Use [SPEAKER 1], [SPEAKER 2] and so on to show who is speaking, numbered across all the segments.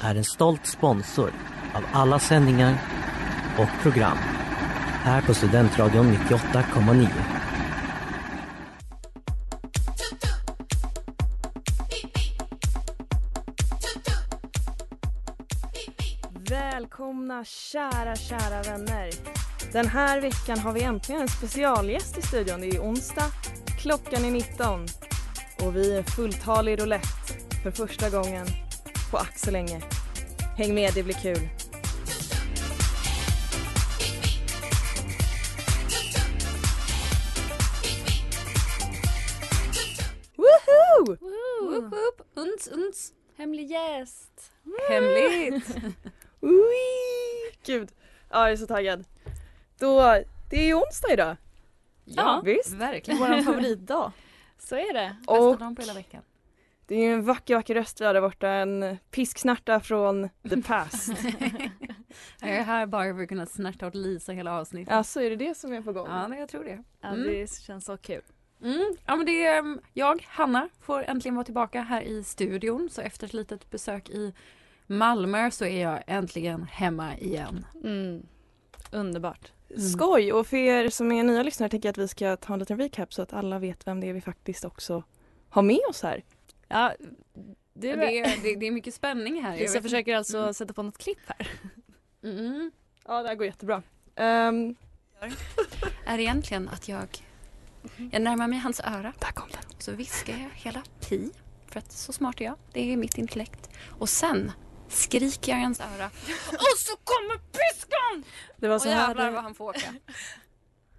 [SPEAKER 1] är en stolt sponsor av alla sändningar och program här på Studentradion 98,9.
[SPEAKER 2] Välkomna kära, kära vänner. Den här veckan har vi äntligen en specialgäst i studion. Det är onsdag, klockan är 19 och vi är fulltalig roulette för första gången på Axel Enge. Häng med, det blir kul. Woho!
[SPEAKER 3] Woop woop, uns uns, Mm. hemlig gäst.
[SPEAKER 4] Hemligt!
[SPEAKER 2] Ui! Gud, ja, jag är så taggad. Då, det är ju onsdag idag.
[SPEAKER 3] Ja,
[SPEAKER 2] Visst?
[SPEAKER 4] verkligen.
[SPEAKER 5] Vår favoritdag.
[SPEAKER 3] så är det.
[SPEAKER 4] Bästa
[SPEAKER 2] Och-
[SPEAKER 4] dagen på hela veckan.
[SPEAKER 2] Det är ju en vacker, vacker röst vi har där borta. En pisksnärta från the past.
[SPEAKER 4] Jag är här bara för att kunna snärta åt Lisa hela avsnittet.
[SPEAKER 2] alltså, är det det som är på gång?
[SPEAKER 4] Ja, men jag tror det.
[SPEAKER 3] Ja,
[SPEAKER 4] Mm.
[SPEAKER 3] det känns så kul.
[SPEAKER 4] Mm. Ja, men det är, um, jag, Hanna, får äntligen vara tillbaka här i studion. Så efter ett litet besök i Malmö så är jag äntligen hemma igen.
[SPEAKER 3] Underbart.
[SPEAKER 4] Mm.
[SPEAKER 2] Skoj! Och för er som är nya lyssnare tänker jag att vi ska ta en liten recap så att alla vet vem det är vi faktiskt också har med oss här.
[SPEAKER 3] Ja,
[SPEAKER 4] Det
[SPEAKER 3] du,
[SPEAKER 4] är, det, det är mycket spänning här. Jag
[SPEAKER 3] Lisa
[SPEAKER 4] vet-
[SPEAKER 3] försöker alltså sätta på något klipp här.
[SPEAKER 4] Mm.
[SPEAKER 2] Ja, det här går jättebra. Ehm,
[SPEAKER 4] Är egentligen att jag, jag närmar mig hans öra
[SPEAKER 2] där kom den.
[SPEAKER 4] och så viskar jag hela pi. För att så smart är jag. Det är mitt intellekt. Och sen skriker jag i hans öra. Och så kommer piskan!
[SPEAKER 2] Det var
[SPEAKER 4] Och
[SPEAKER 2] så här.
[SPEAKER 4] jävlar vad han får åka.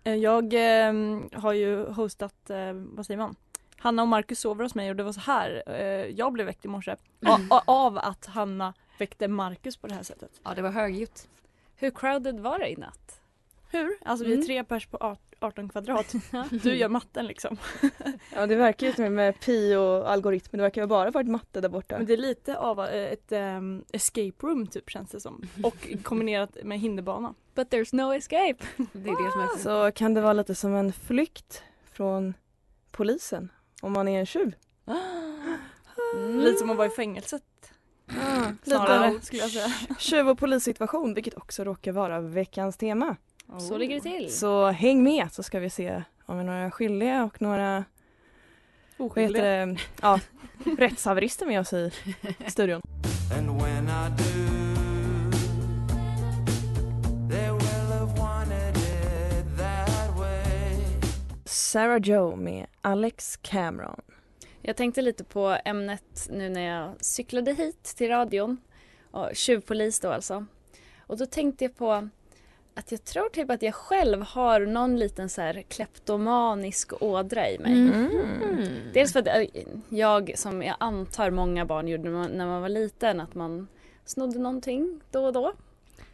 [SPEAKER 6] Eh, Jag ehm, har ju hostat, eh, vad säger man? Hanna och Marcus sover hos mig och det var så här eh, jag blev väckt i morse. A-
[SPEAKER 4] Mm.
[SPEAKER 6] a- av att Hanna väckte Marcus på det här sättet.
[SPEAKER 4] Ja, det var högljutt.
[SPEAKER 3] Hur crowded var det i natt?
[SPEAKER 6] Hur? Alltså vi är
[SPEAKER 3] Mm.
[SPEAKER 6] tre pers på art- 18 kvadrat. Du gör matten liksom.
[SPEAKER 2] Ja, det verkar ju som med pi och algoritmer, det verkar ju bara ha varit matte där borta.
[SPEAKER 6] Men det är lite av eh, ett ehm, escape room typ känns det som. Och kombinerat med hinderbana.
[SPEAKER 3] But there's no escape.
[SPEAKER 4] Det är det som är så.
[SPEAKER 2] Så kan det vara lite som en flykt från polisen om man är en tjuv.
[SPEAKER 6] Mm. Lite som att vara i fängelset
[SPEAKER 2] Lite
[SPEAKER 6] snarare skulle jag säga.
[SPEAKER 2] tjuv och polissituation vilket också råkar vara veckans tema.
[SPEAKER 3] Så ligger det till.
[SPEAKER 2] Så häng med så ska vi se om vi är några skyldiga och några vad heter
[SPEAKER 6] Oskyldiga.
[SPEAKER 2] det? Ja, rättshaverister med oss i studion.
[SPEAKER 7] And when I do, they will have wanted it that way.
[SPEAKER 2] Sarah Joe med Alex Cameron.
[SPEAKER 3] Jag tänkte lite på ämnet nu när jag cyklade hit till radion. Och tjuvpolis då alltså. Och då tänkte jag på att jag tror typ att jag själv har någon liten så här kleptomanisk ådra i
[SPEAKER 2] Mm.
[SPEAKER 3] mig. Dels för att eh, jag, som jag antar många barn gjorde när man- när man var liten, att man snodde någonting då och då.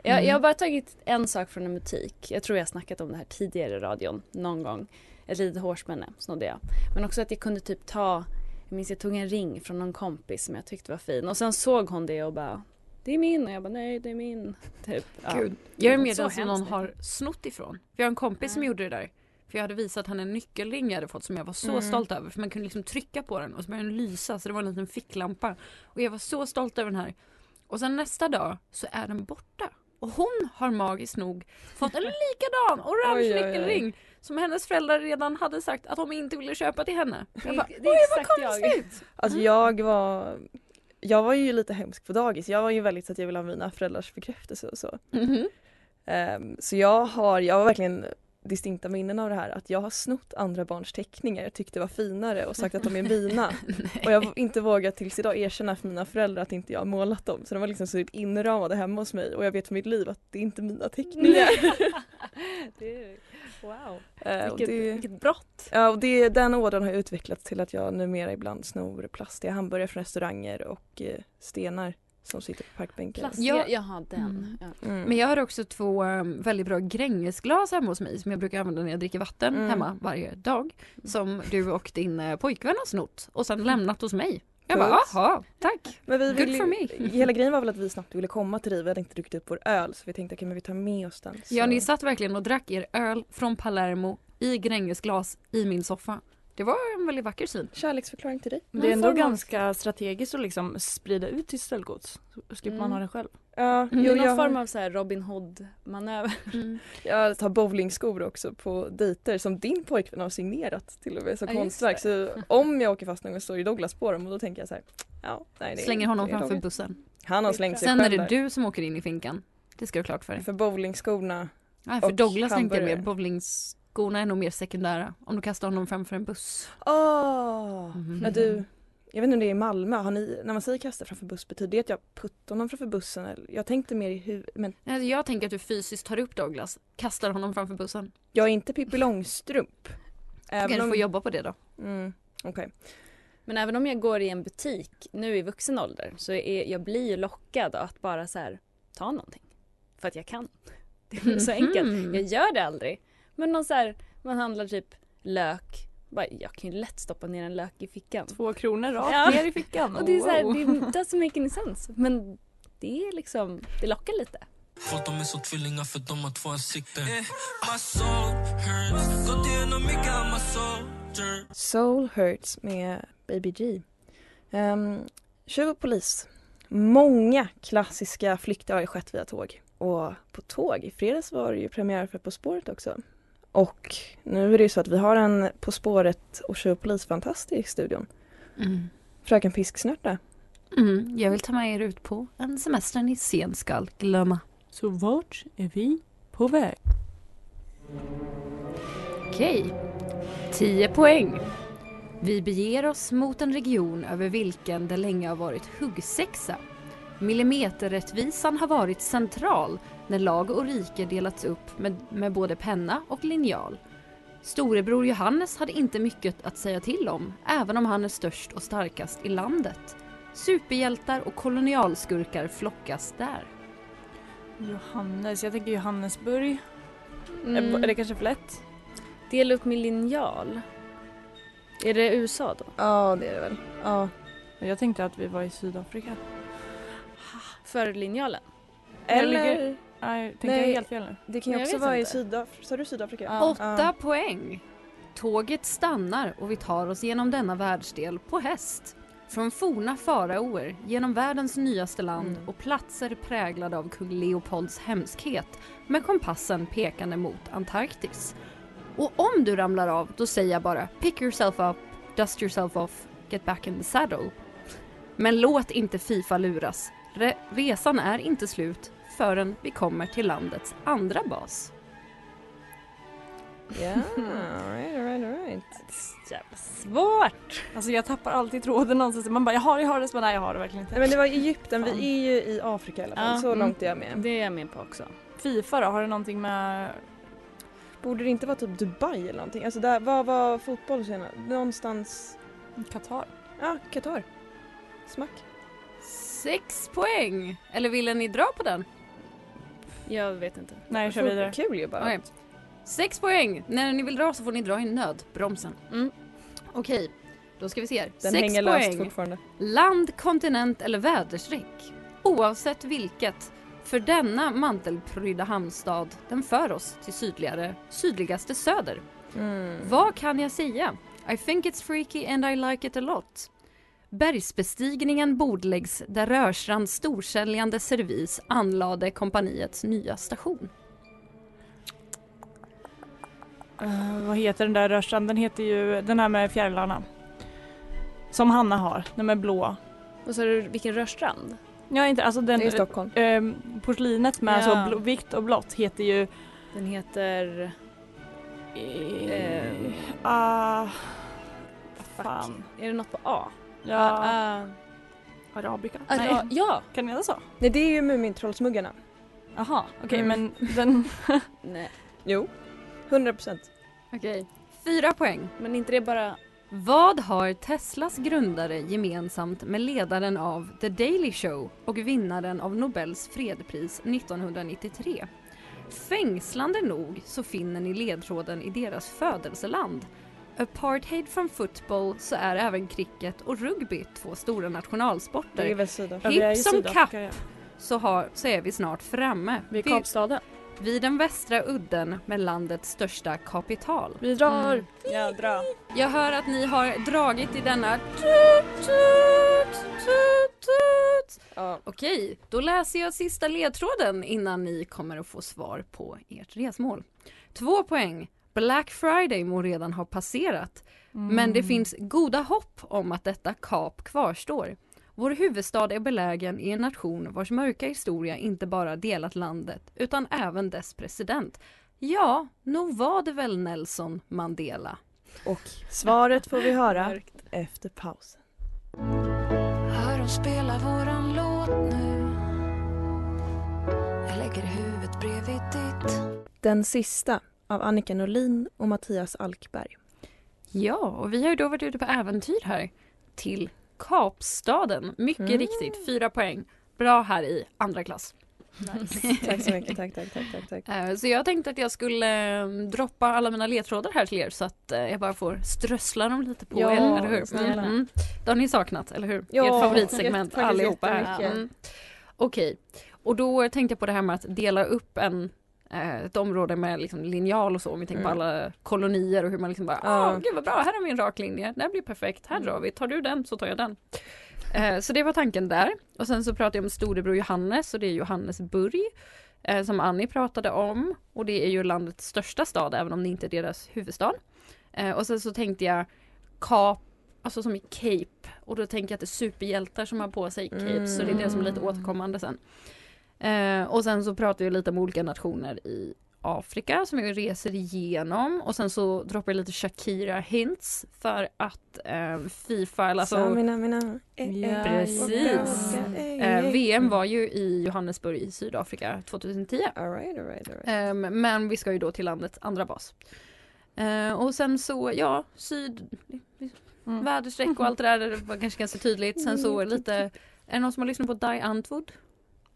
[SPEAKER 3] Jag, jag har bara tagit en sak från en butik. Jag tror jag har snackat om det här tidigare i radion någon gång. Ett litet hårspänne snodde jag. Men också att jag kunde typ ta, jag minns jag tog en ring från någon kompis som jag tyckte var fin och sen såg hon det och bara det är min och jag bara nej det är min. Typ. Ja.
[SPEAKER 4] Gud. Jag är med
[SPEAKER 3] Så
[SPEAKER 4] den som
[SPEAKER 3] hemskt.
[SPEAKER 4] någon har snott ifrån. För jag har en kompis som gjorde det där. För jag hade visat han en nyckelring jag hade fått som jag var så stolt över. För man kunde liksom trycka på den och så började den lysa så det var en liten ficklampa. Och jag var så stolt över den här. Och sen nästa dag så är den borta. Och hon har magiskt nog fått en likadan orange
[SPEAKER 2] Oj, oj, oj.
[SPEAKER 4] nyckelring. Som hennes föräldrar redan hade sagt att de inte ville köpa till henne.
[SPEAKER 3] Det,
[SPEAKER 4] Jag bara,
[SPEAKER 3] är- det är exakt jag.
[SPEAKER 2] Alltså jag var, jag var ju lite hemsk på dagis. Jag var ju väldigt så att jag ville ha mina föräldrars bekräftelse och så.
[SPEAKER 4] mhm.
[SPEAKER 2] Ehm, så jag har, jag var verkligen distinkta minnen av det här att jag har snott andra barns teckningar jag tyckte det var finare och sagt att de är mina. och jag har inte vågat tills idag erkänna för mina föräldrar att inte jag har målat dem. Så de var liksom så typ inramade hemma hos mig och jag vet för mitt liv att det är inte mina teckningar.
[SPEAKER 3] Wow.
[SPEAKER 2] Eh, och
[SPEAKER 3] Vilket,
[SPEAKER 2] det,
[SPEAKER 3] vilket brott.
[SPEAKER 2] ja, och det, den ådran har utvecklats till att jag numera ibland snor plastiga hamburgare från restauranger och eh, stenar som sitter på parkbänken.
[SPEAKER 3] Plast.
[SPEAKER 4] Ja.
[SPEAKER 3] Ja. Jaha, den.
[SPEAKER 4] Mm.
[SPEAKER 3] Ja.
[SPEAKER 2] Mm.
[SPEAKER 4] Men jag har också två eh, väldigt bra Grängesglas hemma hos mig som jag brukar använda när jag dricker vatten
[SPEAKER 2] Mm.
[SPEAKER 4] hemma varje dag. Som du och din eh, pojkvän har snott och sen lämnat hos mig. Jag bara,
[SPEAKER 2] Puss.
[SPEAKER 4] jaha, tack.
[SPEAKER 2] Men vi
[SPEAKER 4] Good
[SPEAKER 2] ville,
[SPEAKER 4] for me.
[SPEAKER 2] Hela grejen var väl att vi snabbt ville komma till dig, vi hade inte druckit upp vår öl så vi tänkte okej men vi tar med oss den. Så.
[SPEAKER 4] Ja, ni satt verkligen och drack er öl från Palermo i Grängesglas i min soffa. Det var en väldigt vacker syn.
[SPEAKER 2] Kärleksförklaring till dig.
[SPEAKER 6] Men det är
[SPEAKER 3] Någon
[SPEAKER 6] ändå
[SPEAKER 3] form av-
[SPEAKER 6] ganska strategiskt att liksom sprida ut till stöldgods. Så slipper man
[SPEAKER 4] Mm.
[SPEAKER 6] ha det själv.
[SPEAKER 2] Ja,
[SPEAKER 4] Mm.
[SPEAKER 2] jo,
[SPEAKER 3] Någon
[SPEAKER 2] jag,
[SPEAKER 3] form av så här Robin Hood-manöver.
[SPEAKER 2] Mm. jag tar bowlingskor också på dejter som din pojkvän har signerat till och med som
[SPEAKER 4] Ja, just
[SPEAKER 2] konstverk. Så om jag åker fast någon gång står ju Douglas på dem och då tänker jag så här, ja, nej, det är
[SPEAKER 4] Slänger
[SPEAKER 2] inte
[SPEAKER 4] honom
[SPEAKER 2] det
[SPEAKER 4] framför
[SPEAKER 2] Douglas.
[SPEAKER 4] bussen.
[SPEAKER 2] Han har slängt sig
[SPEAKER 4] Sen är
[SPEAKER 2] själv
[SPEAKER 4] det
[SPEAKER 2] där.
[SPEAKER 4] du som åker in i finkan. Det ska du ha klart för dig.
[SPEAKER 2] För bowlingskorna.
[SPEAKER 4] Nej, för
[SPEAKER 2] Och
[SPEAKER 4] Douglas tänkte jag mer.
[SPEAKER 2] hamburgare.
[SPEAKER 4] Bowlingskorna är nog mer sekundära. Om du kastar honom framför en buss.
[SPEAKER 2] Åh!
[SPEAKER 4] Mhm.
[SPEAKER 2] Ja, du, jag vet inte om det är i Malmö, har ni, när man säger kasta framför buss betyder det att jag puttar honom framför bussen? Eller, jag tänkte mer i huvudet men
[SPEAKER 4] Nej, Alltså, Jag tänker att du fysiskt tar upp Douglas, kastar honom framför bussen.
[SPEAKER 2] jag är inte Pippi Långstrump.
[SPEAKER 4] Du
[SPEAKER 2] Även
[SPEAKER 4] kanske
[SPEAKER 2] om...
[SPEAKER 4] får jobba på det då.
[SPEAKER 2] Mm, okej.
[SPEAKER 3] Men även om jag går i en butik nu i vuxen ålder så är, jag blir ju lockad att bara så här, ta någonting. För att jag kan. Det är så enkelt.
[SPEAKER 4] Mhm.
[SPEAKER 3] Jag gör det aldrig. Men någon så här, man handlar typ lök. Bara, jag kan ju lätt stoppa ner en lök i fickan.
[SPEAKER 6] Två kronor rakt
[SPEAKER 3] Ja.
[SPEAKER 6] ner i fickan.
[SPEAKER 3] Och det är så här,
[SPEAKER 6] Wow.
[SPEAKER 3] det doesn't make any sense. Men det är liksom, det lockar lite.
[SPEAKER 8] Folk de är som tvillingar för de har två ansikten Eh, My soul hurts, gått igenom mycket av my soldier
[SPEAKER 2] Soul Hurts med Baby G. Um, tjuv och polis. Många klassiska flykter har ju skett via tåg. Och på tåg, i fredags var det ju premiär för På spåret också. Och nu är det ju så att vi har en På spåret och tjuv och polis fantastisk i studion.
[SPEAKER 4] Mm.
[SPEAKER 2] Fröken Pisksnörta.
[SPEAKER 4] Mm. Jag vill ta med er ut på en semester ni sen skall glömma.
[SPEAKER 6] Så vart är vi på väg?
[SPEAKER 4] Okej, 10 poäng. Vi beger oss mot en region över vilken det länge har varit huggsexa. Millimeterrättvisan har varit central när lag och rike delats upp med, med både penna och linjal. Storebror Johannes hade inte mycket att säga till om, även om han är störst och starkast i landet. Superhjältar och kolonialskurkar flockas där.
[SPEAKER 6] Johannes, jag tänker Johannesburg. Eh,
[SPEAKER 3] Mm.
[SPEAKER 6] Är det kanske för lätt?
[SPEAKER 3] Dela upp med linjal. Är det USA då?
[SPEAKER 2] Ja, det är det väl. Ja.
[SPEAKER 6] Jag tänkte att vi var i Sydafrika.
[SPEAKER 3] För linjalen?
[SPEAKER 2] Eller,
[SPEAKER 6] Nej, tänkte
[SPEAKER 2] Nej.
[SPEAKER 6] jag helt fel nu?
[SPEAKER 2] det kan ju
[SPEAKER 3] Men jag
[SPEAKER 2] också
[SPEAKER 3] vet
[SPEAKER 2] vara i
[SPEAKER 3] inte.
[SPEAKER 2] Sydafrika. Sa du Sydafrika?
[SPEAKER 6] Ja.
[SPEAKER 4] Åtta poäng. Tåget stannar och vi tar oss genom denna världsdel på häst. Från forna faraoer, genom världens nyaste land
[SPEAKER 2] Mm.
[SPEAKER 4] och platser präglade av kung Leopolds hemskhet med kompassen pekande mot Antarktis. Och om du ramlar av, då säger jag bara pick yourself up, dust yourself off, get back in the saddle. Men låt inte Fifa luras. Re- resan är inte slut förrän vi kommer till landets andra bas.
[SPEAKER 2] Ja, alright, alright, alright.
[SPEAKER 3] Jävla svårt!
[SPEAKER 6] Alltså jag tappar alltid tråden någonstans. Man bara jag har det, jag har det. Så bara, nej jag har det verkligen
[SPEAKER 2] Nej
[SPEAKER 6] inte.
[SPEAKER 2] men det var Egypten,
[SPEAKER 6] Fan.
[SPEAKER 2] vi är ju i Afrika i alla fall.
[SPEAKER 3] Ja,
[SPEAKER 2] Så
[SPEAKER 6] mm.
[SPEAKER 2] långt är jag med.
[SPEAKER 3] Det är jag med på också.
[SPEAKER 6] Fifa då, har det någonting med...
[SPEAKER 2] Borde det inte vara typ Dubai eller någonting? Alltså där, vad var fotboll senare? Någonstans,
[SPEAKER 6] Qatar?
[SPEAKER 2] ja Qatar. Smack.
[SPEAKER 4] Sex poäng! Eller ville ni dra på den?
[SPEAKER 3] Jag vet inte.
[SPEAKER 6] Nej jag kör vidare.
[SPEAKER 2] Kul ju bara.
[SPEAKER 4] Okej. Sex poäng! När ni vill dra så får ni dra i nödbromsen.
[SPEAKER 3] Mm.
[SPEAKER 4] Okej, då ska vi se. här.
[SPEAKER 2] Den
[SPEAKER 4] Sex
[SPEAKER 2] hänger löst
[SPEAKER 4] poäng.
[SPEAKER 2] fortfarande.
[SPEAKER 4] Land, kontinent eller väderstreck. Oavsett vilket. För denna mantelprydda hamnstad, den för oss till sydligare, sydligaste söder.
[SPEAKER 2] Mm.
[SPEAKER 4] Vad kan jag säga? I think it's freaky and I like it a lot. Bergsbestigningen bordläggs där Rörstrands storsäljande servis anlade kompaniets nya station.
[SPEAKER 6] Eh, vad heter den där rörsan? Den heter ju den här med fjärilarna. Som Hanna har, den med blå.
[SPEAKER 3] Och så är det vilken rörstrand?
[SPEAKER 6] Ja inte alltså den...
[SPEAKER 2] Det är Stockholm.
[SPEAKER 6] eh, porslinet med
[SPEAKER 3] Ja.
[SPEAKER 6] så blå, vitt och blått heter ju...
[SPEAKER 3] Den heter... Eh,
[SPEAKER 6] Ah,
[SPEAKER 3] fuck.
[SPEAKER 6] fan.
[SPEAKER 3] Är det något på A?
[SPEAKER 6] Ja,
[SPEAKER 3] Ah,
[SPEAKER 6] arabica.
[SPEAKER 3] ah,
[SPEAKER 6] Nej,
[SPEAKER 3] ja, ja.
[SPEAKER 6] kan ni heta så?
[SPEAKER 2] Nej det är ju Mumintrollsmuggarna.
[SPEAKER 6] Jaha, okej
[SPEAKER 2] Mm.
[SPEAKER 6] men den...
[SPEAKER 3] Nej.
[SPEAKER 2] Jo, 100 procent.
[SPEAKER 3] Okej.
[SPEAKER 4] Fyra poäng.
[SPEAKER 3] Men inte det bara...
[SPEAKER 4] Vad har Teslas grundare gemensamt med ledaren av The Daily Show och vinnaren av Nobels fredpris 1993? Fängslande nog så finner ni ledtråden i deras födelseland. Apartheid från fotboll så är även cricket och rugby två stora
[SPEAKER 2] Det är
[SPEAKER 4] nationalsporter.
[SPEAKER 2] väl Sydafrika.
[SPEAKER 4] Hipp
[SPEAKER 6] Ja, det är ju
[SPEAKER 4] som
[SPEAKER 6] Sydafrika,
[SPEAKER 4] kapp. Så, har, så är vi snart framme.
[SPEAKER 6] Vi är
[SPEAKER 4] Vi-
[SPEAKER 6] Kapstaden.
[SPEAKER 4] vid den västra udden med landets största kapital.
[SPEAKER 6] Vi drar!
[SPEAKER 4] Mm.
[SPEAKER 6] Jädra.
[SPEAKER 4] Jag hör att ni har dragit i denna tut, tut, tut, tut.
[SPEAKER 2] Ja.
[SPEAKER 4] Okej, då läser jag sista ledtråden innan ni kommer att få svar på ert resmål. Två poäng. Black Friday må redan ha passerat, men det finns goda hopp om att detta kap kvarstår. Vår huvudstad är belägen i en nation vars mörka historia inte bara delat landet utan även dess president. Ja, nog var det väl Nelson Mandela?
[SPEAKER 2] Och svaret får vi höra efter pausen.
[SPEAKER 9] Hör dem spela våran låt nu Jag lägger huvudet bredvid ditt
[SPEAKER 2] Den sista av Annika Norlin och Mattias Alkberg.
[SPEAKER 4] Ja, och vi har ju då varit ute på äventyr här till Kapstaden. Mycket
[SPEAKER 2] Mm.
[SPEAKER 4] riktigt, fyra poäng. Bra här i andra klass.
[SPEAKER 2] Tack så mycket, tack, tack, tack, tack, tack.
[SPEAKER 4] Eh, Så jag tänkte att jag skulle eh, droppa alla mina ledtrådar här till er så att eh, jag bara får strössla dem lite på
[SPEAKER 2] Ja,
[SPEAKER 4] er, eller hur?
[SPEAKER 2] snälla.
[SPEAKER 4] Mm. Det har ni saknat, eller hur?
[SPEAKER 2] Ja,
[SPEAKER 4] Ert favoritsegment
[SPEAKER 2] jätte- faktiskt
[SPEAKER 4] allihopa här.
[SPEAKER 2] jättemycket.
[SPEAKER 4] Mm. Okej, och då tänkte jag på det här med att dela upp en eh, ett område med liksom linjal och så, om vi tänker
[SPEAKER 2] Mm.
[SPEAKER 4] på alla kolonier och hur man liksom bara,
[SPEAKER 2] Ja. Mm.
[SPEAKER 4] ah, gud vad bra, här har vi en rak linje, det här blir perfekt, här drar vi, tar du den så tar jag den. Eh, så det var tanken där. Och sen så pratade jag om storebror Johannes och det är Johannesburg eh, som Annie pratade om och det är ju landets största stad även om det inte är deras huvudstad. Eh, och sen så tänkte jag kap, alltså som i cape och då tänker jag att det är superhjältar som har på sig capes så det är det som är lite återkommande sen. Eh, och sen så pratar jag lite om olika nationer i Afrika som jag reser igenom och sen så droppar jag lite Shakira hints för att eh, Fifa, eller alltså
[SPEAKER 2] mina, mina, Eh,
[SPEAKER 6] Ja,
[SPEAKER 4] precis. eh, VM var ju i Johannesburg i Sydafrika 2010.
[SPEAKER 2] All right, all right, all right.
[SPEAKER 4] Ehm, men vi ska ju då till landets andra bas. Ehm, och sen så, ja, syd...
[SPEAKER 6] Mm.
[SPEAKER 4] Väderstreck och allt det där, det var kanske ganska tydligt. Sen så lite... Är det någon som har lyssnat på Die Antwoord?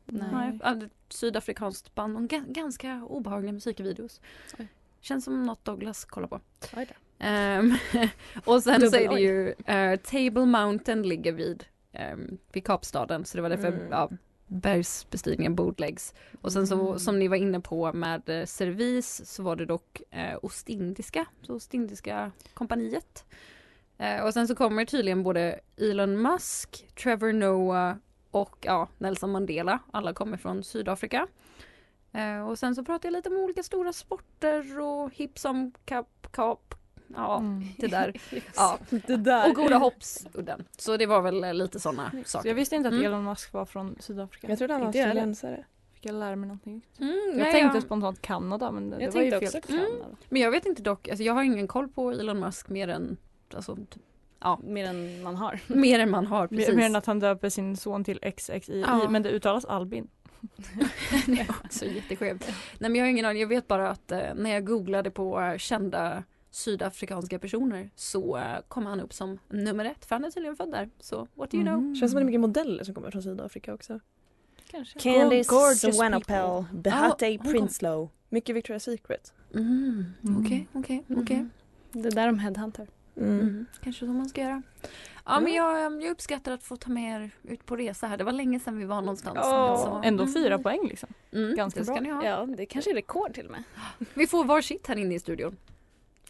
[SPEAKER 4] Nej. Ja, det är ett Sydafrikanskt band, och ga- ganska obehagliga musikvideos.
[SPEAKER 3] Oj.
[SPEAKER 4] Känns som något Douglas kollar på.
[SPEAKER 3] Oj då.
[SPEAKER 4] Ehm, och sen så
[SPEAKER 3] Dubbel
[SPEAKER 4] är det
[SPEAKER 3] oj.
[SPEAKER 4] ju eh, Table Mountain ligger vid, um, vid Kapstaden så det var därför
[SPEAKER 2] Mm.
[SPEAKER 4] ja, bergsbestigningen bordläggs. Och sen
[SPEAKER 3] Mm.
[SPEAKER 4] så som ni var inne på med eh, servis så var det dock eh, Ostindiska, så Ostindiska kompaniet. Eh, och sen så kommer tydligen både Elon Musk, Trevor Noah och ja, Nelson Mandela. Alla kommer från Sydafrika. Eh, och sen så pratar jag lite om olika stora sporter och hipp som kap, kap, ja
[SPEAKER 6] Mm.
[SPEAKER 4] det där. Ja.
[SPEAKER 2] Det där.
[SPEAKER 4] Och goda hoppsudden. Så det var väl eh, lite sådana
[SPEAKER 6] Så
[SPEAKER 4] saker.
[SPEAKER 6] jag visste inte att
[SPEAKER 4] Mm.
[SPEAKER 6] Elon Musk var från Sydafrika.
[SPEAKER 2] Jag trodde han var
[SPEAKER 3] Inte jag heller.
[SPEAKER 2] australiensare.
[SPEAKER 6] Fick jag lära mig någonting.
[SPEAKER 4] Mm,
[SPEAKER 6] Jag
[SPEAKER 4] nej,
[SPEAKER 6] tänkte
[SPEAKER 4] jag-
[SPEAKER 6] spontant Kanada men det,
[SPEAKER 3] Jag
[SPEAKER 6] det var ju
[SPEAKER 3] tänkte
[SPEAKER 6] fel.
[SPEAKER 3] också
[SPEAKER 6] Kanada.
[SPEAKER 4] Men jag vet inte dock, alltså jag har ingen koll på Elon Musk mer än, alltså, typ, ja,
[SPEAKER 3] Mer än man har.
[SPEAKER 4] mer än man har precis.
[SPEAKER 6] Mer, mer än att han döper sin son till XXI
[SPEAKER 4] Ja.
[SPEAKER 6] men det uttalas Albin.
[SPEAKER 4] Det var också jätteskevt. Nej men jag har ingen aning, jag vet bara att eh, när jag googlade på eh, kända sydafrikanska personer så eh, kom han upp som nummer ett, för han är tydligen född där. Så what do you know?
[SPEAKER 6] Mm.
[SPEAKER 2] Känns som att det är mycket modeller som kommer från Sydafrika också.
[SPEAKER 3] Kanske.
[SPEAKER 2] Candice
[SPEAKER 3] Gorgeous
[SPEAKER 2] Swanapel,
[SPEAKER 4] Behate hon kom.
[SPEAKER 2] Prinslow. Ah, Mycket Victoria's Secret.
[SPEAKER 4] Mm,
[SPEAKER 6] Mm.
[SPEAKER 4] Okej, okej, okej.
[SPEAKER 3] Det är där de headhunter.
[SPEAKER 4] Mm, Kanske så man ska göra. Ja
[SPEAKER 2] Mm.
[SPEAKER 4] men jag, eh, jag uppskattar att få ta med er ut på resa här. Det var länge sedan vi var någonstans.
[SPEAKER 2] Ja,
[SPEAKER 4] men så-
[SPEAKER 6] Ändå
[SPEAKER 4] Mm.
[SPEAKER 6] fyra poäng liksom.
[SPEAKER 4] Mm,
[SPEAKER 6] Ganska
[SPEAKER 4] det ska
[SPEAKER 6] bra.
[SPEAKER 4] Ni ha.
[SPEAKER 3] Ja, det kanske är rekord till och med.
[SPEAKER 4] Vi får var sitt här inne i studion.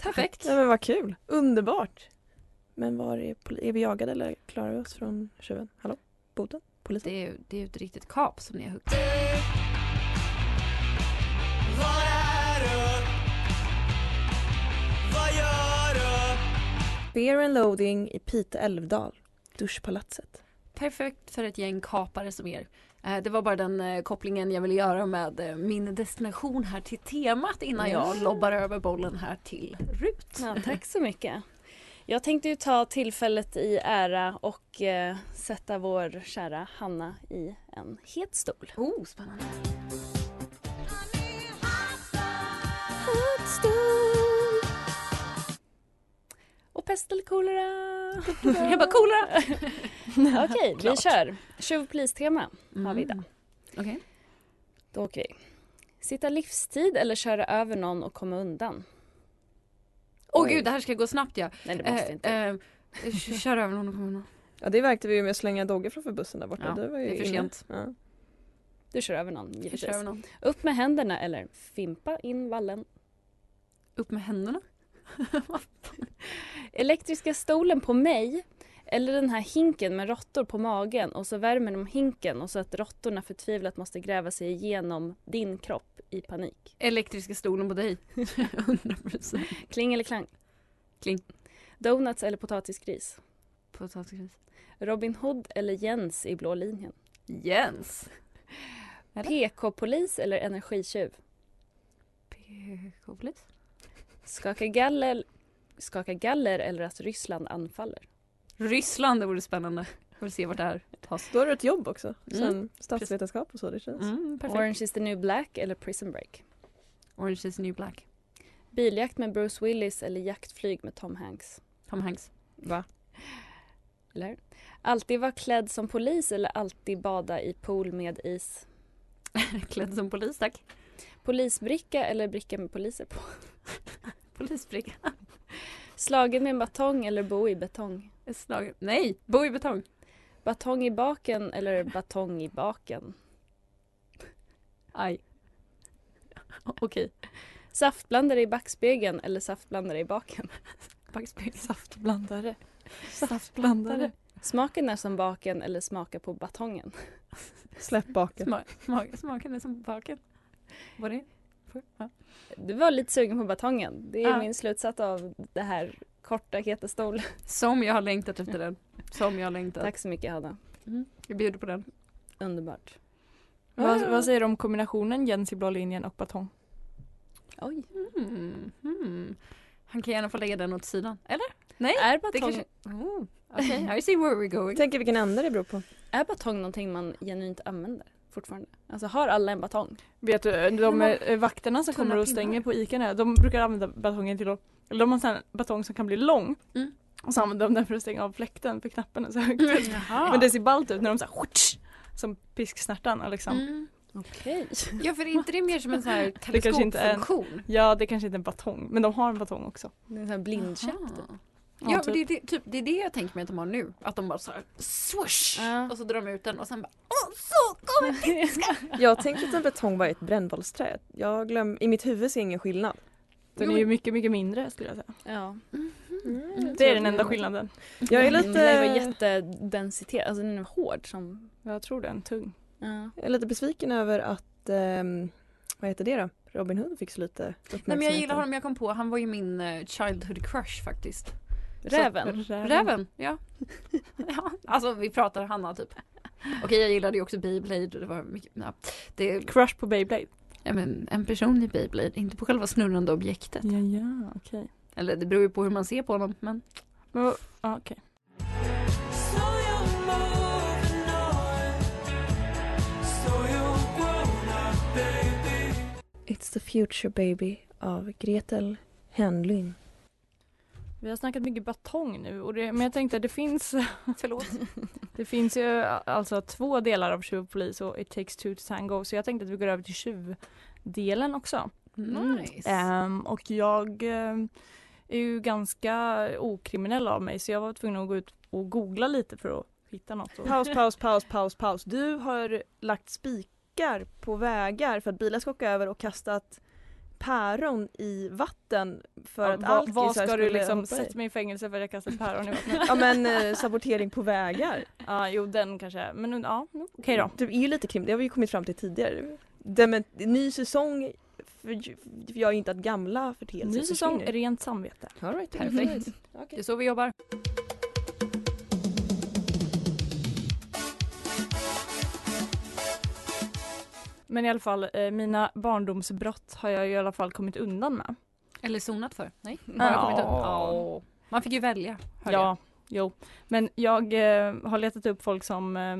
[SPEAKER 4] Perfekt.
[SPEAKER 2] Nej men vad kul, underbart. Men var är, poli- är vi jagade eller klarar vi oss från tjuven? Hallå? Boten? Polisen?
[SPEAKER 4] Det är, det är ju ett riktigt kap som ni har huggit.
[SPEAKER 7] Vad är upp? Vad gör upp?
[SPEAKER 2] Beer and loading i Pite älvdal. Duschpalatset.
[SPEAKER 4] Perfekt för ett gäng kapare som er.
[SPEAKER 3] Eh, Det var bara den eh, kopplingen jag ville göra med eh, min destination här till temat innan jag lobbar över bollen här till Rut.
[SPEAKER 4] Ja, tack så mycket. Jag tänkte ju ta tillfället i ära och eh, sätta vår kära Hanna i en het stol.
[SPEAKER 3] Oh, spännande.
[SPEAKER 4] Het stol! Och pest eller kolera?
[SPEAKER 3] Jag bara kolera!
[SPEAKER 4] Okej, vi kör. Tjuv polis-tema har vi idag.
[SPEAKER 3] Okej.
[SPEAKER 4] Då åker vi. Sitta livstid eller köra över någon och komma undan?
[SPEAKER 3] Åh gud, det här ska gå snabbt ja.
[SPEAKER 4] Nej, det måste
[SPEAKER 3] Eh,
[SPEAKER 4] inte.
[SPEAKER 3] eh, k- kör över någon och kommer någon.
[SPEAKER 2] Ja det verkte vi ju med att slänga Dogge framför bussen där borta.
[SPEAKER 3] Ja,
[SPEAKER 2] det var ju
[SPEAKER 3] det är för
[SPEAKER 2] inne.
[SPEAKER 3] sent.
[SPEAKER 2] Ja.
[SPEAKER 4] Du kör över någon,
[SPEAKER 3] Jag
[SPEAKER 4] givetvis.
[SPEAKER 3] kör över någon.
[SPEAKER 4] Upp med händerna eller fimpa in vallen.
[SPEAKER 3] Upp med händerna.
[SPEAKER 4] Elektriska stolen på mig eller den här hinken med råttor på magen och så värmer de hinken och så att råttorna förtvivlat måste gräva sig igenom din kropp i panik.
[SPEAKER 3] Elektriska stolen på dig. 100%
[SPEAKER 4] Kling eller klang?
[SPEAKER 3] Kling.
[SPEAKER 4] Donuts eller potatisgris?
[SPEAKER 3] potatisgris.
[SPEAKER 4] Robin Hood eller Jens i blå linjen?
[SPEAKER 3] Jens. Eller?
[SPEAKER 4] PK-polis eller energitjuv?
[SPEAKER 3] PK-polis.
[SPEAKER 4] Skaka galler, skaka galler eller att Ryssland anfaller?
[SPEAKER 3] Ryssland, det vore spännande. Får se vart det här tas.
[SPEAKER 2] Då har du ett jobb också. Sen
[SPEAKER 3] Mm.
[SPEAKER 2] statsvetenskap och så det känns.
[SPEAKER 3] Mm, perfekt. Orange.
[SPEAKER 4] Orange is the new black eller Prison Break?
[SPEAKER 3] is the new black.
[SPEAKER 4] Biljakt med Bruce Willis eller jaktflyg med Tom Hanks?
[SPEAKER 3] Tom Hanks.
[SPEAKER 2] Va?
[SPEAKER 4] Eller? Alltid vara klädd som polis eller alltid bada i pool med is?
[SPEAKER 3] Klädd som polis, tack.
[SPEAKER 4] Polisbricka eller bricka med poliser på?
[SPEAKER 3] Polisbricka.
[SPEAKER 4] Slagen med en batong eller bo i betong?
[SPEAKER 3] Slagen. Nej, bo i betong.
[SPEAKER 4] Batong i baken eller batong i baken?
[SPEAKER 3] Aj. Okej.
[SPEAKER 4] Saftblandare i backspegeln eller saftblandare i baken?
[SPEAKER 3] Backspegel.
[SPEAKER 6] Saftblandare. Saftblandare.
[SPEAKER 4] Smaken är som baken eller smaka på batongen?
[SPEAKER 2] Släpp baken.
[SPEAKER 3] Sma- sma- Smaken är som baken. Var det? för- Ja.
[SPEAKER 4] Du var lite sugen på batongen. Det är
[SPEAKER 3] Ja.
[SPEAKER 4] min slutsats av det här korta heta stolen.
[SPEAKER 3] Som jag har längtat efter den. Som jag har längtat.
[SPEAKER 4] Tack så mycket Hanna.
[SPEAKER 3] Jag bjuder på den.
[SPEAKER 4] Underbart.
[SPEAKER 6] Vad, vad säger du om kombinationen Jens i blå linjen och batong?
[SPEAKER 4] Oj.
[SPEAKER 3] Mm, mm. Han kan gärna få lägga den åt sidan. Eller?
[SPEAKER 4] Är
[SPEAKER 3] Det
[SPEAKER 4] batong,
[SPEAKER 3] kanske... Oh, Okej, I see where we're going.
[SPEAKER 2] Tänker vilken ände det beror på.
[SPEAKER 4] är batong någonting man genuint använder fortfarande? Alltså har alla en batong?
[SPEAKER 6] Vet du, de
[SPEAKER 3] Men
[SPEAKER 6] eh, vakterna som
[SPEAKER 3] tunna
[SPEAKER 6] kommer och
[SPEAKER 3] pinnar.
[SPEAKER 6] stänger på Ica nu, de brukar använda batongen till att, eller de har en sån här batong som kan bli lång
[SPEAKER 3] Mm.
[SPEAKER 6] och så använder de den för att stänga av fläkten för knappen är så högt.
[SPEAKER 3] Jaha.
[SPEAKER 6] Men det ser ballt ut när de så här, "Hutsch!" som pisksnärtan liksom.
[SPEAKER 3] Mm.
[SPEAKER 4] Okej.
[SPEAKER 3] Ja, för är inte det mer som en sån här
[SPEAKER 6] Det kanske inte är en-
[SPEAKER 3] teleskopfunktion?
[SPEAKER 6] Ja det kanske inte är en batong, men de har en batong också.
[SPEAKER 4] Det är en sån här blindkäpp typ.
[SPEAKER 3] Jaha.
[SPEAKER 6] Ja,
[SPEAKER 3] Ja,
[SPEAKER 6] typ.
[SPEAKER 3] men det, är det, typ, det är det jag tänker mig att de har nu. Att de bara så här, swoosh!
[SPEAKER 4] Ja.
[SPEAKER 3] Och så drar de ut den och sen bara, åh så kommer det!
[SPEAKER 2] Jag tänkte att en betong var ett brännbollsträ. Jag glöm... I mitt huvud ser jag ingen skillnad.
[SPEAKER 6] Den är ju mycket, mycket mindre skulle jag säga.
[SPEAKER 4] Ja.
[SPEAKER 3] Mm-hmm.
[SPEAKER 2] Mm.
[SPEAKER 6] Det är den enda skillnaden.
[SPEAKER 2] Jag är
[SPEAKER 4] Mm, Den var
[SPEAKER 2] lite,
[SPEAKER 4] jättedensitet, alltså den är hård som...
[SPEAKER 6] Jag tror den är tung.
[SPEAKER 4] Ja.
[SPEAKER 2] jag är lite besviken över att, ehm, vad heter det då? Robin Hood fick så lite
[SPEAKER 3] Nej
[SPEAKER 2] uppmärksamhet.
[SPEAKER 3] men jag gillar honom, jag kom på, han var ju min eh, childhood crush faktiskt.
[SPEAKER 4] Räven.
[SPEAKER 3] Räven, ja. ja. Alltså vi pratar Hanna typ. Okej jag gillade ju också Beyblade och det var mycket, ja. Det är
[SPEAKER 6] Crush på Beyblade.
[SPEAKER 3] ja, men, en person i Beyblade, inte på själva snurrande objektet.
[SPEAKER 6] Ja, ja, okej.
[SPEAKER 3] Eller det beror ju på hur man ser på honom men.
[SPEAKER 6] Men vad- ja, okej.
[SPEAKER 7] So you're moving on. So you're grown up, baby.
[SPEAKER 2] It's the future baby av Gretel Henlin.
[SPEAKER 6] Vi har snackat mycket batong nu, och det, men jag tänkte att det finns,
[SPEAKER 3] Förlåt.
[SPEAKER 6] det finns ju alltså två delar av Tjuv och polis och It takes two to tango så jag tänkte att vi går över till tjuvdelen också.
[SPEAKER 3] Nice.
[SPEAKER 6] Ehm, och jag ehm, är ju ganska okriminell av mig så jag var tvungen att gå ut och googla lite för att hitta något. Och,
[SPEAKER 2] Paus, paus, paus, paus, paus. Du har lagt spikar på vägar för att bilar ska åka över och kastat päron i vatten för
[SPEAKER 6] Ja,
[SPEAKER 2] att
[SPEAKER 6] vad,
[SPEAKER 2] alkisar
[SPEAKER 6] vad ska du
[SPEAKER 2] skulle
[SPEAKER 6] liksom,
[SPEAKER 2] hoppa i.
[SPEAKER 6] sätta mig i fängelse för att jag kastat päron i vattnet?
[SPEAKER 2] Ja men eh, sabotering på vägar.
[SPEAKER 6] Ja, jo den kanske, men ja, okej då.
[SPEAKER 2] Det är ju lite krim, det har vi ju kommit fram till tidigare. Det med ny säsong för, för jag är inte att gamla förteelser
[SPEAKER 6] Ny säsong,
[SPEAKER 2] försvinner.
[SPEAKER 6] rent samvete.
[SPEAKER 2] All right,
[SPEAKER 3] Perfekt. Det är så vi jobbar.
[SPEAKER 6] Men i alla fall, eh, mina barndomsbrott har jag i alla fall kommit undan med.
[SPEAKER 4] Eller zonat för. Nej.
[SPEAKER 6] Ja.
[SPEAKER 4] Bara kommit upp. Ja. Man fick ju välja. hörde
[SPEAKER 6] ja, jo. Men jag eh, har letat upp folk som eh,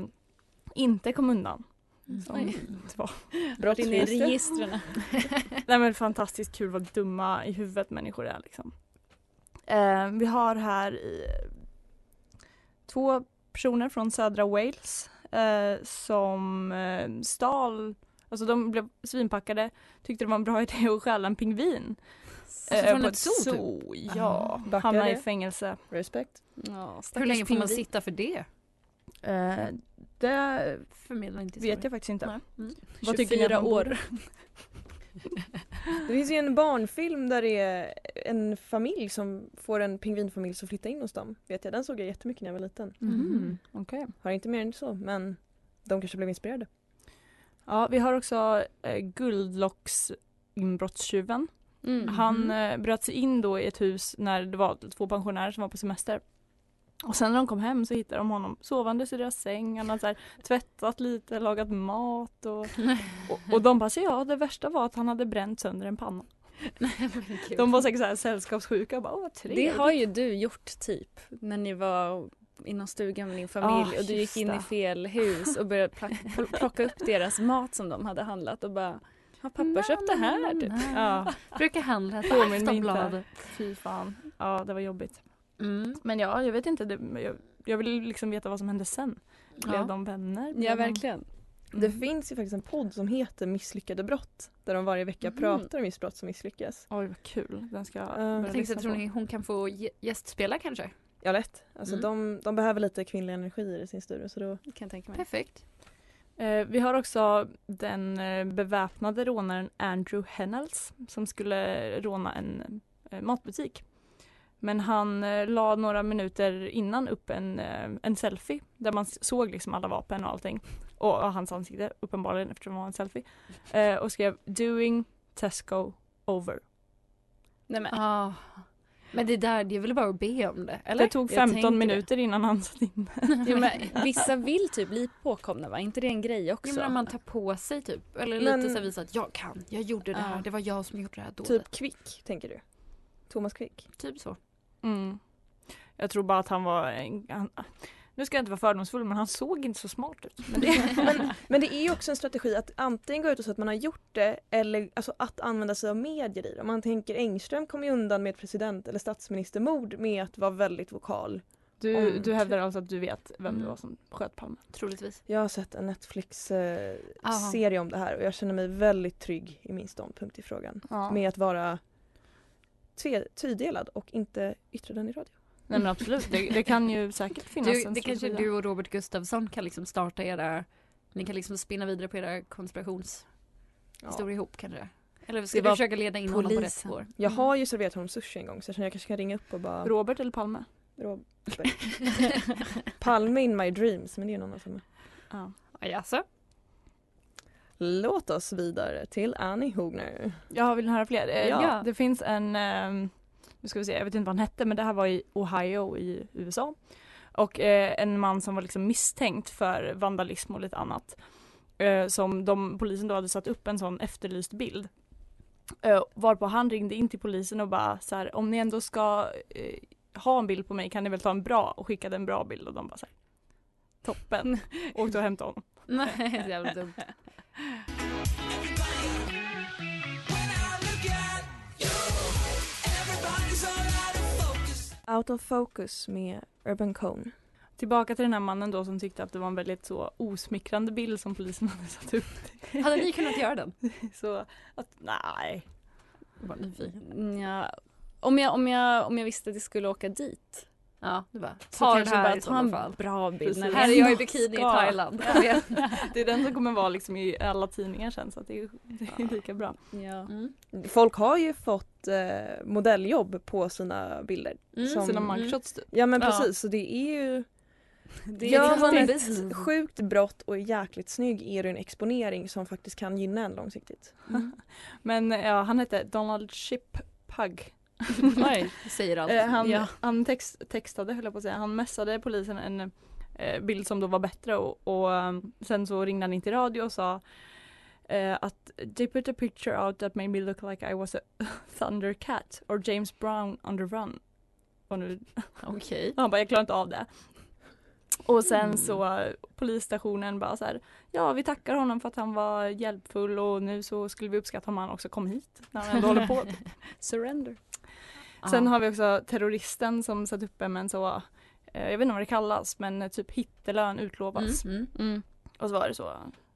[SPEAKER 6] inte kom undan.
[SPEAKER 4] Mm.
[SPEAKER 6] Som det var.
[SPEAKER 3] Brott in i registren.
[SPEAKER 6] Nej men fantastiskt kul vad dumma i huvudet människor är liksom. Eh, vi har här i, två personer från södra Wales eh, som eh, stal, alltså de blev svinpackade, tyckte det var en bra idé att stjäla en pingvin. Eh,
[SPEAKER 4] Alltså från ett zoo, typ?
[SPEAKER 6] zoo Ja,
[SPEAKER 2] Backar
[SPEAKER 6] hamnade i
[SPEAKER 2] det?
[SPEAKER 6] fängelse.
[SPEAKER 2] Respekt.
[SPEAKER 3] Ja,
[SPEAKER 4] jag. Hur länge får man
[SPEAKER 3] pingvin.
[SPEAKER 4] sitta för det?
[SPEAKER 6] Eh, det
[SPEAKER 4] Förmedla inte
[SPEAKER 6] vet jag faktiskt inte.
[SPEAKER 4] Nej. Mm.
[SPEAKER 6] Vad tycker ni att
[SPEAKER 3] 24
[SPEAKER 6] man borde-
[SPEAKER 3] år.
[SPEAKER 2] Det finns ju en barnfilm där det är en familj som får en pingvinfamilj som flyttar in hos dem. Vet jag, den såg jag jättemycket när jag var liten.
[SPEAKER 6] Mm. Okej.
[SPEAKER 2] Har inte mer än så men de kanske blev inspirerade.
[SPEAKER 6] Ja, vi har också eh, Guldlocksinbrottstjuven.
[SPEAKER 3] Mm.
[SPEAKER 6] Han eh, bröt sig in då i ett hus när det var två pensionärer som var på semester. Och sen när de kom hem så hittade de honom sovandes i deras säng. Han hade så här, tvättat lite, lagat mat och, och, och de bara, så ja det värsta var att han hade bränt sönder en panna. De var säkert så här sällskapssjuka och bara, åh vad
[SPEAKER 3] Det
[SPEAKER 6] trevligt.
[SPEAKER 3] har ju du gjort typ när ni var inom stugan med din familj
[SPEAKER 6] Ah,
[SPEAKER 3] och du gick
[SPEAKER 6] just
[SPEAKER 3] in i
[SPEAKER 6] det.
[SPEAKER 3] fel hus och började pla- pl- plocka upp deras mat som de hade handlat och bara har pappa köpt det här? Typ.
[SPEAKER 4] Ah.
[SPEAKER 6] Ja,
[SPEAKER 4] Brukar handla på
[SPEAKER 6] Påminn mig inte.
[SPEAKER 4] Aftonbladet.
[SPEAKER 6] fy fan. Ja, det var jobbigt.
[SPEAKER 4] Mm.
[SPEAKER 6] Men ja, jag vet inte, det, men jag, jag vill liksom veta vad som hände sen. Blev
[SPEAKER 4] Ja.
[SPEAKER 6] de vänner? Blev
[SPEAKER 3] Ja
[SPEAKER 6] de-
[SPEAKER 3] verkligen.
[SPEAKER 6] Mm.
[SPEAKER 2] Det finns ju faktiskt en podd som heter Misslyckade brott där de varje vecka
[SPEAKER 3] Mhm.
[SPEAKER 6] Mm.
[SPEAKER 2] pratar om just brott som misslyckas.
[SPEAKER 6] Oj vad kul, den ska jag
[SPEAKER 2] Eh,
[SPEAKER 6] börja
[SPEAKER 4] Jag tänkte,
[SPEAKER 6] lyssna
[SPEAKER 4] tror
[SPEAKER 6] på.
[SPEAKER 4] ni hon kan få gä- gästspela kanske?
[SPEAKER 2] Ja lätt. Alltså
[SPEAKER 4] Mm.
[SPEAKER 2] de, de behöver lite kvinnliga energier i sin studio så då
[SPEAKER 3] Det kan jag tänka mig.
[SPEAKER 4] Perfekt.
[SPEAKER 6] Eh, vi har också den eh, beväpnade rånaren Andrew Hennels som skulle råna en eh, matbutik. Men han eh, la några minuter innan upp en, eh, en selfie där man s- såg liksom alla vapen och allting. Och, och hans ansikte uppenbarligen eftersom det var en selfie. Eh, och skrev doing Tesco over.
[SPEAKER 3] Nej, men,
[SPEAKER 4] Ja. Men det där, det är väl bara att be om det? Eller?
[SPEAKER 6] Det tog
[SPEAKER 3] Jag
[SPEAKER 6] 15
[SPEAKER 3] tänker
[SPEAKER 6] minuter innan han satt in
[SPEAKER 3] jo, men, vissa vill typ bli påkomna va? inte det en grej
[SPEAKER 4] Jag
[SPEAKER 3] också?
[SPEAKER 4] menar om man tar på sig typ, eller
[SPEAKER 2] Men-
[SPEAKER 4] lite så här visa att jag kan, jag gjorde det här,
[SPEAKER 3] Ja.
[SPEAKER 4] det var jag som gjorde det här dådet.
[SPEAKER 2] typ Quick tänker du? Thomas Quick?
[SPEAKER 4] typ så.
[SPEAKER 6] Mm. Jag tror bara att han var, en- han, nu ska jag inte vara fördomsfull men han såg inte så smart ut. Men det,
[SPEAKER 2] men, men det är ju också en strategi att antingen gå ut och säga att man har gjort det eller alltså att använda sig av medier i det. Om man tänker Engström kom ju undan med ett president eller statsministermord med att vara väldigt vokal.
[SPEAKER 6] du,
[SPEAKER 2] Om-
[SPEAKER 6] du hävdar alltså att du vet vem
[SPEAKER 4] Mm.
[SPEAKER 6] det var som sköt Palme?
[SPEAKER 4] Troligtvis.
[SPEAKER 2] Jag har sett en Netflix-serie
[SPEAKER 4] Aha.
[SPEAKER 2] om det här och jag känner mig väldigt trygg i min ståndpunkt i frågan.
[SPEAKER 6] Men-
[SPEAKER 2] Med att vara tve- tudelad och inte yttra den i radio.
[SPEAKER 6] Nej men absolut, det, det kan ju säkert finnas
[SPEAKER 4] Du,
[SPEAKER 3] Alltså,
[SPEAKER 6] en
[SPEAKER 4] det kanske
[SPEAKER 6] strategi
[SPEAKER 4] du och Robert Gustafsson kan liksom starta era, ni kan liksom spinna vidare på era konspirationshistorier ihop kanske. Eller ska
[SPEAKER 2] Det
[SPEAKER 4] du
[SPEAKER 2] var
[SPEAKER 4] försöka leda in honom på rätt
[SPEAKER 3] polisen.
[SPEAKER 4] spår?
[SPEAKER 2] Jag har ju serverat honom sushi en gång så jag känner att jag kanske kan ringa upp och bara
[SPEAKER 6] där. Robert eller Palme?
[SPEAKER 2] Rob- Palme in my dreams men det är någon annan som
[SPEAKER 6] Ja.
[SPEAKER 4] Jaså?
[SPEAKER 2] Låt oss vidare till Annie Hogner.
[SPEAKER 6] Jag vill höra fler. Eh,
[SPEAKER 2] Ja.
[SPEAKER 6] Det finns en, ehm, nu ska vi se, jag vet inte vad han hette men det här var i Ohio i USA. Och eh, en man som var liksom misstänkt för vandalism och lite annat. Eh, som de, polisen då hade satt upp en sån efterlyst bild. Eh, varpå han ringde in till polisen och bara så här, om ni ändå ska eh, ha en bild på mig kan ni väl ta en bra och skickade en bra bild och de bara så här, toppen, åkte och hämtade honom.
[SPEAKER 4] Nej, det är jävligt dumt.
[SPEAKER 2] Out of focus med Urban Cone.
[SPEAKER 6] Tillbaka till den här mannen då som tyckte att det var en väldigt så osmickrande bild som polisen hade satt upp.
[SPEAKER 4] Hade ni kunnat göra den?
[SPEAKER 6] Så att nej.
[SPEAKER 4] Var nyfiken.
[SPEAKER 3] Nja, om, jag, om, jag, om jag visste att jag skulle åka dit
[SPEAKER 4] Ja, du bara,
[SPEAKER 3] så
[SPEAKER 4] ta den
[SPEAKER 3] kanske jag
[SPEAKER 4] här
[SPEAKER 3] bara
[SPEAKER 4] i
[SPEAKER 3] ta
[SPEAKER 4] sådana
[SPEAKER 3] en
[SPEAKER 4] fall.
[SPEAKER 3] bra bild. när vi
[SPEAKER 4] Här är jag i
[SPEAKER 3] ändå
[SPEAKER 4] bikini i
[SPEAKER 3] ska.
[SPEAKER 4] Thailand.
[SPEAKER 6] Det är den som kommer vara liksom i alla tidningar sen så att det är, det är lika bra.
[SPEAKER 3] Ja.
[SPEAKER 4] Mm.
[SPEAKER 2] Folk har ju fått eh, modelljobb på sina bilder.
[SPEAKER 4] Mm,
[SPEAKER 2] Som-
[SPEAKER 6] Sina
[SPEAKER 4] mm.
[SPEAKER 6] mugshots typ.
[SPEAKER 2] Ja men
[SPEAKER 4] Ja.
[SPEAKER 2] precis så det är ju
[SPEAKER 3] Det är
[SPEAKER 2] Gör
[SPEAKER 3] liksom
[SPEAKER 2] man
[SPEAKER 3] en
[SPEAKER 2] ett
[SPEAKER 3] bild.
[SPEAKER 2] sjukt brott och är jäkligt snygg är det en exponering som faktiskt kan gynna en långsiktigt.
[SPEAKER 6] Men ja, han hette Donald Chip Pug.
[SPEAKER 4] Oj, det säger allt.
[SPEAKER 6] Eh, han
[SPEAKER 4] ja.
[SPEAKER 6] han text, textade höll jag på att säga, han messade polisen en ehm, eh, bild som då var bättre och, och eh, sen så ringde han in till radio och sa eh, eh, att they put a picture out that made me look like I was a thundercat or James Brown on the run. Och nu,
[SPEAKER 3] Okej.
[SPEAKER 6] han bara, jag klarar inte av det. Och sen så eh, polisstationen bara så här, ja vi tackar honom för att han var hjälpfull och nu så skulle vi uppskatta om han också kom hit när han ändå håller på.
[SPEAKER 4] Surrender.
[SPEAKER 6] Sen
[SPEAKER 3] Ja.
[SPEAKER 6] har vi också terroristen som satt uppe med en så, eh, jag vet inte vad det kallas, men eh, typ hittelön utlovas.
[SPEAKER 3] Mm. Mm.
[SPEAKER 4] Mm.
[SPEAKER 6] Och så var det så,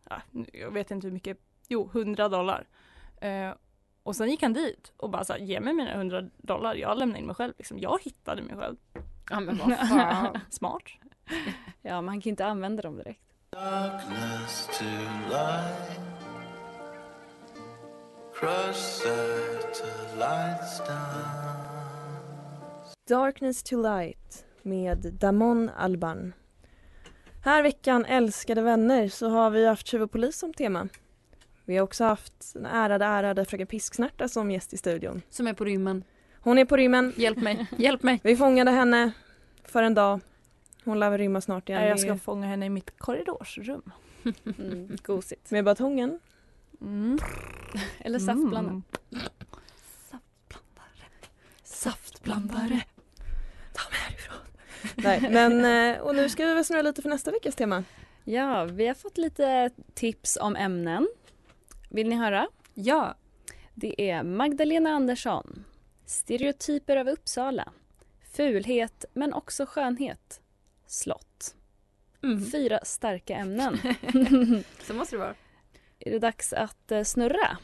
[SPEAKER 6] ja, nu- jag vet inte hur mycket, jo 100 dollar. Eh, och sen gick han dit och bara så här, ge mig mina 100 dollar, jag lämnar in mig själv. Liksom, jag hittade mig själv.
[SPEAKER 3] Ja men vad fan.
[SPEAKER 6] Smart.
[SPEAKER 4] Ja, man kan inte använda dem direkt.
[SPEAKER 7] Darkness to light. Crush satellites down.
[SPEAKER 2] Darkness to Light med Damon Alban. Här veckan, älskade vänner, så har vi haft Tjuv och polis som tema. Vi har också haft den ärade, ärade fröken Pisksnärta som gäst i studion.
[SPEAKER 3] Som är på rymmen.
[SPEAKER 2] Hon är på rymmen.
[SPEAKER 3] Hjälp mig, hjälp mig.
[SPEAKER 2] Vi fångade henne för en dag. Hon lär väl rymma snart igen.
[SPEAKER 6] Nej, Eh, jag ska
[SPEAKER 2] Det är
[SPEAKER 6] fånga henne i mitt korridorsrum.
[SPEAKER 4] Mm. Gosigt.
[SPEAKER 2] Med batongen.
[SPEAKER 6] Mm.
[SPEAKER 4] Eller saftblandare.
[SPEAKER 3] Saftblandare.
[SPEAKER 2] Nej, men, eh, och nu ska vi väl snurra lite för nästa veckas tema.
[SPEAKER 4] Ja, vi har fått lite tips om ämnen. Vill ni höra?
[SPEAKER 3] Ja.
[SPEAKER 4] Det är Magdalena Andersson. Stereotyper av Uppsala. Fulhet, men också skönhet. Slott.
[SPEAKER 3] Mm.
[SPEAKER 4] Fyra starka ämnen.
[SPEAKER 3] Så måste det vara.
[SPEAKER 4] är det dags att eh, snurra?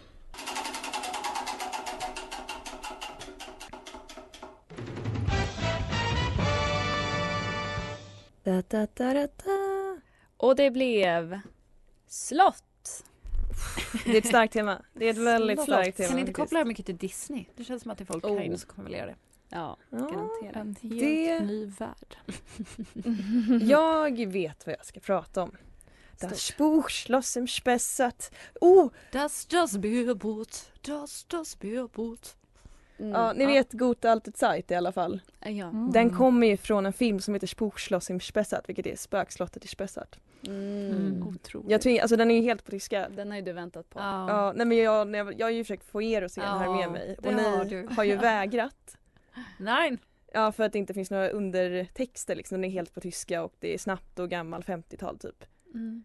[SPEAKER 2] Da, da, da, da, da.
[SPEAKER 4] Och det blev slott.
[SPEAKER 2] Det är ett starkt tema. Det är ett väldigt
[SPEAKER 4] Slott.
[SPEAKER 2] starkt tema.
[SPEAKER 3] Kan ni inte
[SPEAKER 2] faktiskt.
[SPEAKER 3] koppla det här mycket till Disney? Det känns som att det är folk
[SPEAKER 4] Oh.
[SPEAKER 3] här inne som kommer vilja göra det.
[SPEAKER 4] Ja,
[SPEAKER 2] Ja.
[SPEAKER 4] garanterat.
[SPEAKER 6] En helt
[SPEAKER 2] Det-
[SPEAKER 6] ny värld.
[SPEAKER 2] Jag vet vad jag ska prata om.
[SPEAKER 3] Stort.
[SPEAKER 2] Das Buch Schloss im Spessart. Oh,
[SPEAKER 3] Das, das Bierboot, das, das Bierboot.
[SPEAKER 4] Mm.
[SPEAKER 2] ja, ni vet Gute Alte Zeit i alla fall.
[SPEAKER 4] Ja.
[SPEAKER 3] Mm.
[SPEAKER 2] Den kommer ju från en film som heter Spuch Schloss im Spessart vilket är Spökslottet i Spessart.
[SPEAKER 4] Mm.
[SPEAKER 3] Otroligt.
[SPEAKER 2] Jag tror, alltså den är ju helt på tyska.
[SPEAKER 4] Den har ju du väntat på.
[SPEAKER 3] Ja.
[SPEAKER 2] Ja, nej men jag, när jag, jag har ju försökt få er att se den här
[SPEAKER 3] Ja,
[SPEAKER 2] med mig
[SPEAKER 3] det
[SPEAKER 2] och ni
[SPEAKER 3] har du.
[SPEAKER 2] har ju vägrat.
[SPEAKER 3] Nej.
[SPEAKER 2] Ja för att det inte finns några undertexter liksom, den är helt på tyska och det är snabbt och gammal 50-tal typ.
[SPEAKER 3] Mm.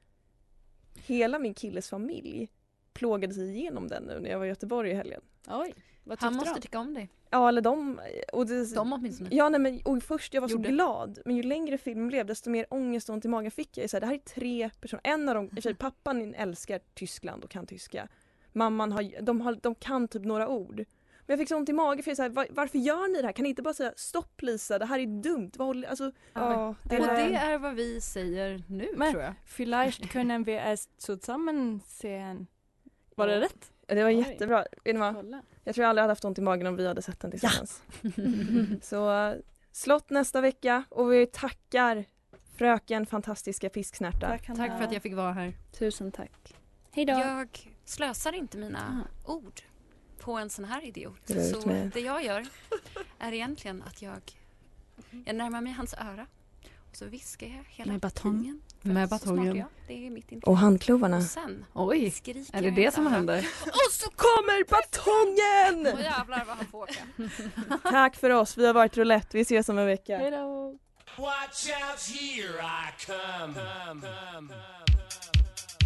[SPEAKER 2] Hela min killes familj plågade sig igenom den nu när jag var i Göteborg i helgen.
[SPEAKER 4] Oj, vad tyckte
[SPEAKER 3] Han måste
[SPEAKER 4] de?
[SPEAKER 3] tycka om dig.
[SPEAKER 2] Ja eller de, och det,
[SPEAKER 3] De åtminstone.
[SPEAKER 2] Ja nej men och först jag var
[SPEAKER 3] Gjorde.
[SPEAKER 2] så glad men ju längre filmen blev desto mer ångest och ont i magen fick jag. jag. är Så här, det här är tre personer, en av dem, i och för sig, pappan älskar Tyskland och kan tyska. Mamman har, de, har, de kan typ några ord. Men jag fick så ont i magen för jag är så här, "Var- varför gör ni det här? Kan ni inte bara säga stopp Lisa det här är dumt. Vad håller, alltså, ja, det
[SPEAKER 3] Och
[SPEAKER 2] där-
[SPEAKER 3] det är vad vi säger nu
[SPEAKER 6] Men-
[SPEAKER 3] tror jag.
[SPEAKER 6] Vielleicht können wir es zusammen sehen. Var det rätt?
[SPEAKER 2] det var
[SPEAKER 4] Oj.
[SPEAKER 2] jättebra. Vet ni vad?
[SPEAKER 4] Kolla.
[SPEAKER 2] Jag tror jag aldrig hade haft ont i magen om vi hade sett den tillsammans. så eh, slott nästa vecka och vi tackar fröken fantastiska pisksnärta.
[SPEAKER 3] Tack för att jag fick vara här.
[SPEAKER 4] Tusen tack. Hej då.
[SPEAKER 10] Jag slösar inte mina ord på en sån här idiot.
[SPEAKER 2] Det är ut
[SPEAKER 10] Så
[SPEAKER 2] med.
[SPEAKER 10] det jag gör är egentligen att jag, jag närmar mig hans öra och så viskar jag hela
[SPEAKER 3] Med batongen.
[SPEAKER 10] tiden. För
[SPEAKER 3] Med
[SPEAKER 10] så
[SPEAKER 3] batongen.
[SPEAKER 10] smart är Jag. Det är mitt intresse.
[SPEAKER 2] Och handklovarna.
[SPEAKER 10] Och sen
[SPEAKER 3] Oj,
[SPEAKER 10] skriker
[SPEAKER 3] är det
[SPEAKER 10] jag i
[SPEAKER 3] det
[SPEAKER 10] hans
[SPEAKER 3] som
[SPEAKER 10] öra.
[SPEAKER 3] händer?
[SPEAKER 2] Och så kommer
[SPEAKER 10] Åh
[SPEAKER 2] batongen!
[SPEAKER 10] jävlar vad han får åka.
[SPEAKER 2] Tack för oss, vi har varit roulette. Vi ses om en vecka.
[SPEAKER 7] Watch out, here I come. come, come, come.